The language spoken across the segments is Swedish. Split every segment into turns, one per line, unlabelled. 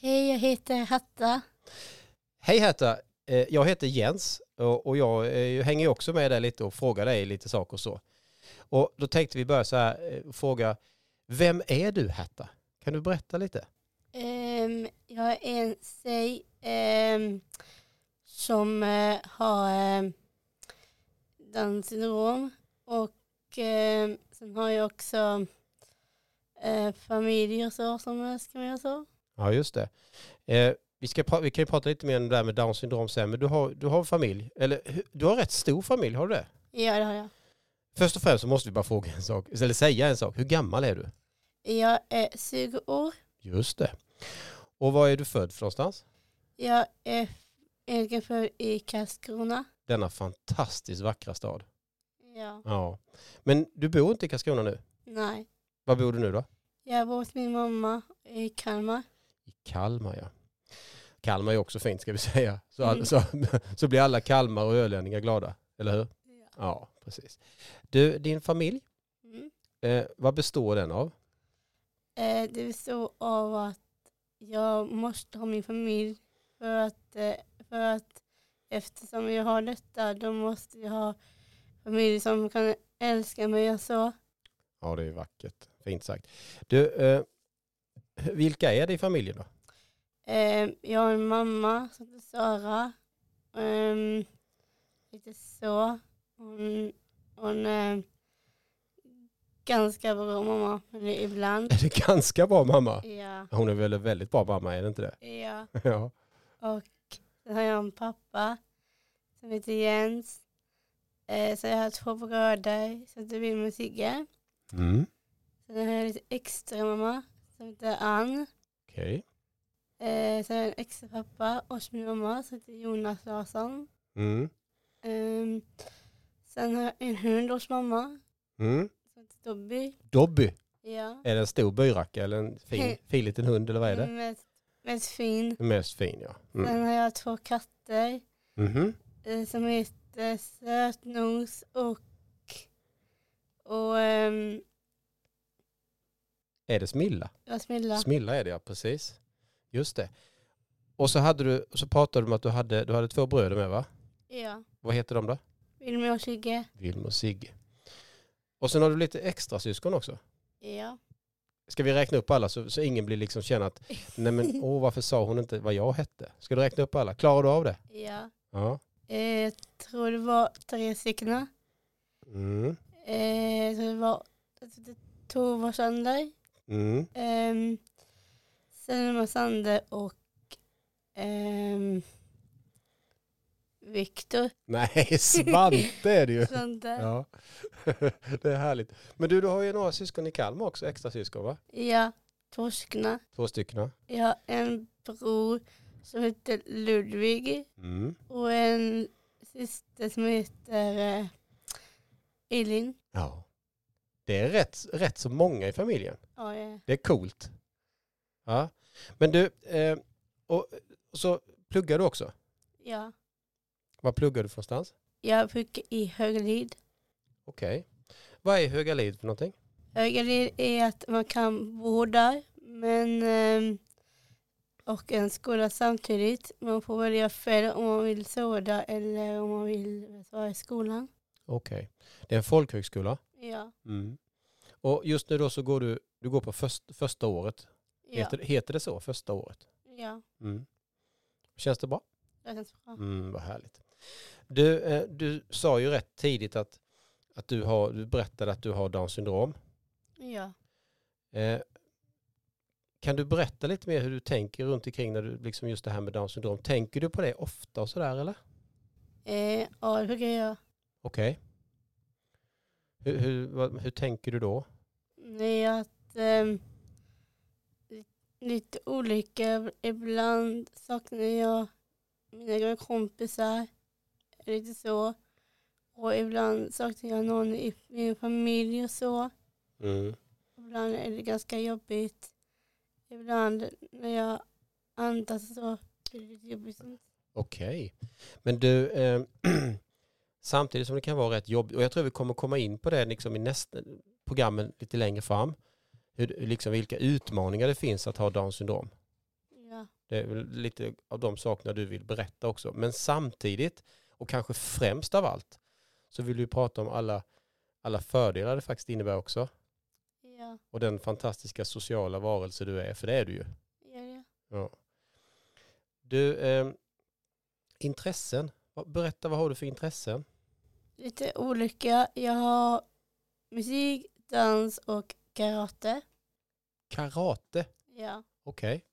Jag heter Hatta.
Hej Herta, Eh, jag heter Jens och och jag eh, hänger ju också med dig lite och frågar dig lite saker och så. Och då tänkte vi börja så här eh, och fråga, vem är du Herta? Kan du berätta lite?
Ehm, jag är en tjej ehm, som eh, har ehm, Downs syndrom. Och ehm, sen har jag också eh, familj och så som älskar mig och så.
Ja just det. Eh, vi, ska pra- vi kan ju prata lite mer om det där med Downs syndrom sen, men du har, du har familj, eller hu- du har rätt stor familj, har du det?
Ja, det har jag.
Först och främst så måste vi bara fråga en sak, eller säga en sak. Hur gammal är du?
Jag är 20 år.
Just det. Och var är du född för någonstans?
Jag är egentligen född i Karlskrona.
Denna fantastiskt vackra stad.
Ja,
Ja. Men du bor inte i Karlskrona nu?
nej.
Var bor du nu då?
Jag bor hos min mamma i Kalmar.
I Kalmar ja. Kalmar är också fint ska vi säga. Så,
Mm.
så, så blir alla Kalmar och ölänningar glada, eller hur? Ja, precis. Du, din familj,
Mm.
eh, vad består den av?
Eh, det består av att jag måste ha min familj för att, eh, för att eftersom jag har detta då måste jag ha familj som kan älska mig och så.
Ja, det är vackert. Fint sagt. Du, eh, vilka är det i familjen då?
Eh, jag har en mamma som heter Sara. Ehm, lite så. Hon, hon är ganska bra mamma, men ibland.
Är det ganska bra mamma?
Ja.
Hon är väl en väldigt bra mamma, är det inte det?
ja.
Ja.
Sen har jag en pappa som heter Jens. Eh, sen har jag två bröder som heter Wilmer och Sigge.
Mm.
Sen har jag lite extra mamma som heter Ann.
Okej.
Eh, sen har jag en extra pappa och så min mamma som heter Jonas Larsson.
Mm.
Ehm, sen har jag en hund hos mamma
Mm.
som heter Dobby.
Dobby,
Ja.
är det en stor byracka eller en fin,
Mm.
fin liten hund eller vad är det?
Med, med fin.
Den mest fin ja. Mm.
Sen har jag två katter
Mhm.
eh, som heter Sötnos och, och ehm,
Är det Smilla?
Rasmilla.
Smilla är det ja, precis. Just det. Och så, hade du, så pratade du om att du hade, du hade två bröder med va?
Ja.
Vad heter de då?
Wilmer och Sigge.
Vilma och Sigge. Och sen har du lite extra syskon också.
Ja.
Ska vi räkna upp alla så, så ingen blir liksom känner att nej men åh varför sa hon inte vad jag hette? Ska du räkna upp alla? Klarar du av det?
ja.
Ja.
Eh, jag tror det var tre stycken. Eh,
Mm.
jag tror det var jag tror det var Tove Sander.
Mm.
Ehm, Selma Sander och ehm, Viktor
Nej, Svante är det ju.
Sander. Ja.
Ja. Det är härligt. Men du, du har ju några syskon i Kalmar också, extra syskon va?
två stycken.
Två stycken.
Jag har en bror som heter Ludvig
Mm.
och en syster som heter eh, Elin.
Ja. Det är rätt, rätt så många i familjen.
Ja, ja.
Det är coolt. Ja. Men du, eh, och, och så pluggar du också.
ja.
Vad pluggar du för någonstans?
Jag brukar i Högalid.
Okej. Vad är Högalid för någonting?
Högalid är att man kan bo där men, ehm, och en skola samtidigt. Man får välja själv om man vill sova där eller om man vill vara i skolan.
Okej. Det är en folkhögskola.
Ja.
Mm. Och just nu då så går du, du går på först, första året.
Ja.
Heter, heter det så? Första året?
ja.
Känns det bra?
Det känns bra.
Mm, vad härligt. Du, eh, du sa ju rätt tidigt att, att du, har, du berättade att du har Downs syndrom.
Ja.
Eh, kan du berätta lite mer hur du tänker runt omkring när du liksom just det här med Downs syndrom? Tänker du på det ofta och sådär eller?
Eh, ja, det brukar jag.
Okej. Hur, hur, vad, hur tänker du då?
Det är att ehm, li- lite olika. Ibland saknar jag mina gamla kompisar. Lite så. Och ibland saknar jag någon i min familj och så. Ibland är det ganska jobbigt. Ibland när jag andas så blir det lite jobbigt.
Okej. Men du, eh, samtidigt som det kan vara rätt jobbigt, och jag tror vi kommer komma in på det liksom i nästa programmen lite längre fram, hur, liksom vilka utmaningar det finns att ha Downs syndrom.
Ja.
Det är väl lite av de sakerna du vill berätta också. Men samtidigt, och kanske främst av allt, så vill du prata om alla, alla fördelar det faktiskt innebär också.
Ja,
Och den fantastiska sociala varelse du är, för det är du ju.
gör det.
Ja. Du, eh, intressen. Vad- Berätta, vad har du för intressen?
Lite olika. Jag har musik, dans och karate.
Karate.
Ja.
Okej.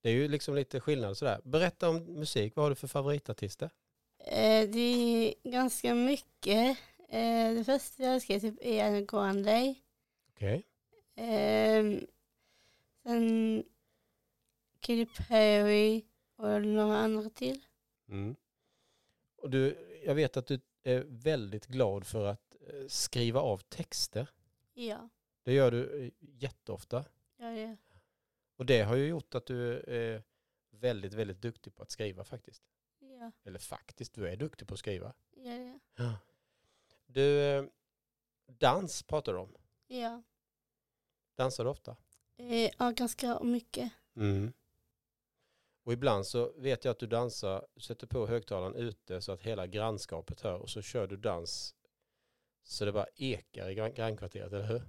Det är ju liksom lite skillnad sådär. Berätta om musik. Vad har du för favoritartister?
Eh, det är ganska mycket. Eh, det första jag älskar typ är Anna Grande.
Okej.
Eh, sen Katy Perry och några andra till.
Mm. Och du, jag vet att du är väldigt glad för att eh, skriva av texter.
Ja,
Det gör du eh, jätteofta.
jag gör det.
Och det har ju gjort att du är väldigt, väldigt duktig på att skriva faktiskt.
Ja,
Eller faktiskt, du är duktig på att skriva.
jag gör det.
Du, eh, dans pratar du om.
Ja.
Dansar du ofta?
Eh, ja, ganska mycket.
Och ibland så vet jag att du dansar, sätter på högtalaren ute så att hela grannskapet hör och så kör du dans så det bara ekar i grann- grannkvarteret, eller hur?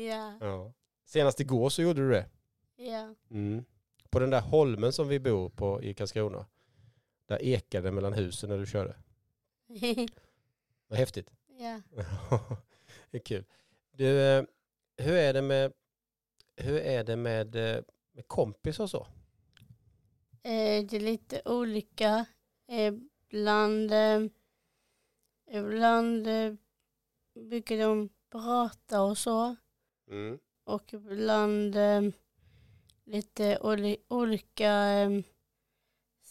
ja,
Ja. Senast igår så gjorde du det.
ja,
På den där holmen som vi bor på i Karlskrona. Där ekade det mellan husen när du körde. Vad häftigt.
ja.
det är kul. Du, eh, hur är det med, hur är det med, eh, med kompis och så?
Eh, det är lite olika. Eh, Ibland, eh, ibland eh, brukar de prata och så. Och ibland eh, lite oli- olika eh,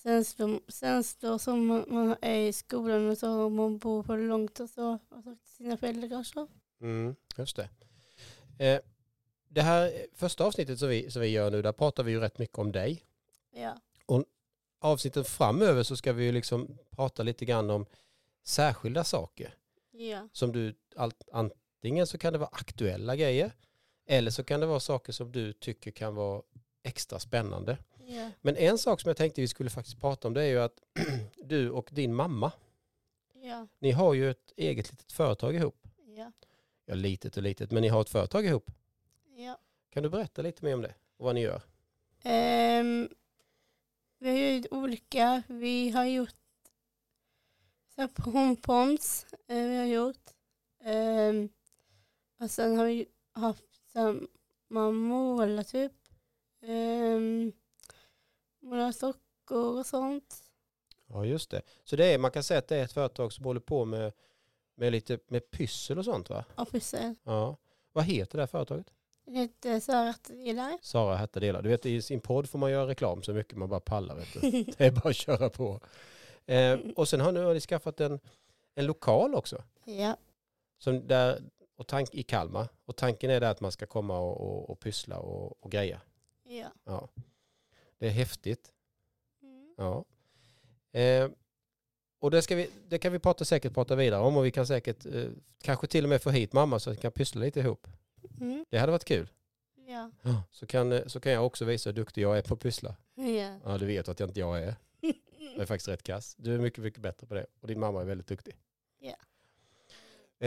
känslor, känslor som man, man är i skolan och så. Om man bor på långt och så. Och så till sina föräldrar och så.
Mm, just det. Eh, det här eh, första avsnittet som vi, som vi gör nu, där pratar vi ju rätt mycket om dig.
Ja,
Avsnitten framöver så ska vi ju liksom prata lite grann om särskilda saker.
ja,
Som du, allt- antingen så kan det vara aktuella grejer, eller så kan det vara saker som du tycker kan vara extra spännande.
ja,
Men en sak som jag tänkte vi skulle faktiskt prata om det är ju att du och din mamma,
ja,
ni har ju ett eget litet företag ihop.
ja,
Ja, litet och litet, men ni har ett företag ihop.
ja.
Kan du berätta lite mer om det och vad ni gör?
Ehm, vi har gjort olika. Vi har gjort så pompoms. Eh, vi har gjort. Ehm, och sen har vi haft samma måla typ. Um, måla sockor och sånt.
Ja, just det. Så det är, man kan säga att det är ett företag som håller på med, med lite med pyssel och sånt va?
Och pussel.
Ja. Vad heter det här företaget?
Det heter Sara Attila.
Sara hette delar. Du vet i sin podd får man göra reklam så mycket man bara pallar. Vet du. Det är bara att köra på. Eh, och sen har nu har ni skaffat en, en lokal också.
ja,
Som där, och tank, I Kalmar. Och tanken är där att man ska komma och, och, och pyssla och, och greja.
ja.
Ja. Det är häftigt.
Mm.
Ja. Eh, och det, ska vi, det kan vi prata, säkert prata vidare om och vi kan säkert eh, kanske till och med få hit mamma så att vi kan pyssla lite ihop.
Mm.
Det hade varit kul.
Ja.
Så kan, eh, så kan jag också visa hur duktig jag är på att pyssla.
Ja.
Ja, du vet att jag inte jag är. Jag är faktiskt rätt kass. Du är mycket, mycket bättre på det och din mamma är väldigt duktig.
Ja.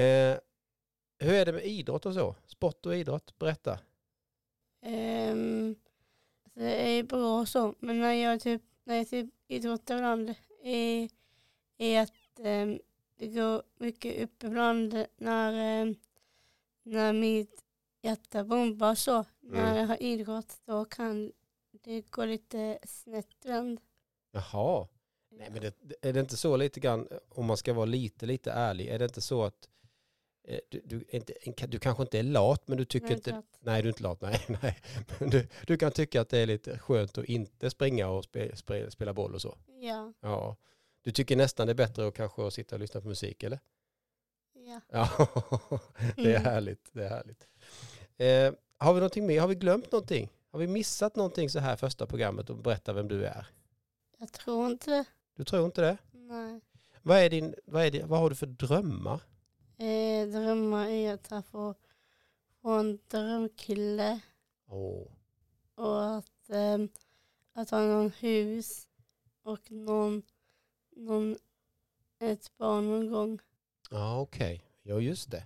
Eh, hur är det med idrott och så? Sport och idrott, berätta.
Ehm, så det är bra och så, men när jag typ, när jag typ idrottar ibland är, är att ehm, det går mycket upp ibland när, ehm, när mitt hjärta bombar och så. När
Mm.
jag har idrott då kan det gå lite snett ibland.
Jaha. Nej, men det, det- är det inte så lite grann, om man ska vara lite, lite ärlig, är det inte så att eh, du, du, är inte, du kanske inte är lat, men du tycker
Men
inte...
klart,
Nej, du är inte lat, nej. nej. Men du, du kan tycka att det är lite skönt att inte springa och spe, spe, spela boll och så.
Ja,
Ja. Du tycker nästan det är bättre att kanske att sitta och lyssna på musik, eller?
ja.
Ja, det är
Mm.
härligt. Det är härligt. Eh, har vi någonting mer? Har vi glömt någonting? Har vi missat någonting så här första programmet och berätta vem du är?
Jag tror inte det.
Du tror inte det?
Nej.
Vad, är din, vad, är din, vad har du för drömmar?
Eh, drömmar är att jag får, får en drömkille.
Åh,
Och att, ehm, att ha någon hus och någon, någon, ett barn någon gång.
Ja, okej. Ja, just det.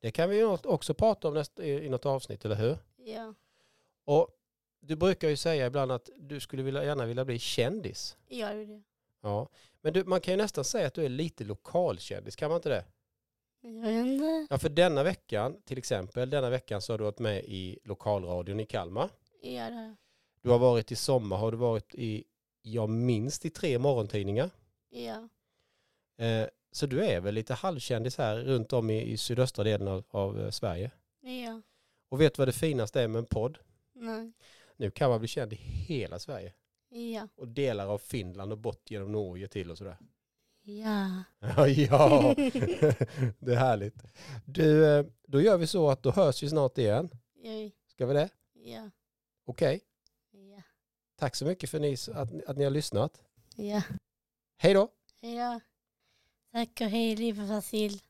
Det kan vi ju något- också prata om nästa, i i något avsnitt, eller hur?
Ja,
Och du brukar ju säga ibland att du skulle vilja, gärna vilja bli kändis.
jag gör det.
Ja, men du, man kan ju nästan säga att du är lite lokalkändis, kan man inte det?
Jag vet inte.
Ja, för denna veckan, till exempel, denna veckan så har du varit med i lokalradion i Kalmar.
Ja, det har jag.
Du har varit i sommar, har du varit i, jag minst i tre morgontidningar.
Ja,
Eh, så du är väl lite halvkändis här runt om i, i sydöstra delen av, av eh, Sverige.
ja,
Och vet du vad det finaste är med en podd?
nej,
Nu kan man bli känd i hela Sverige.
ja,
Och delar av Finland och bort genom Norge till och sådär.
ja.
Ja, ja. det är härligt. Du, eh, då gör vi så att då hörs vi snart igen.
Oj,
Ska vi det?
Ja,
Okej.
ja,
Tack så mycket för ni, att, ni- att ni har lyssnat.
ja.
Hej då!
Hej då. Tack och hej, liv och Vasil.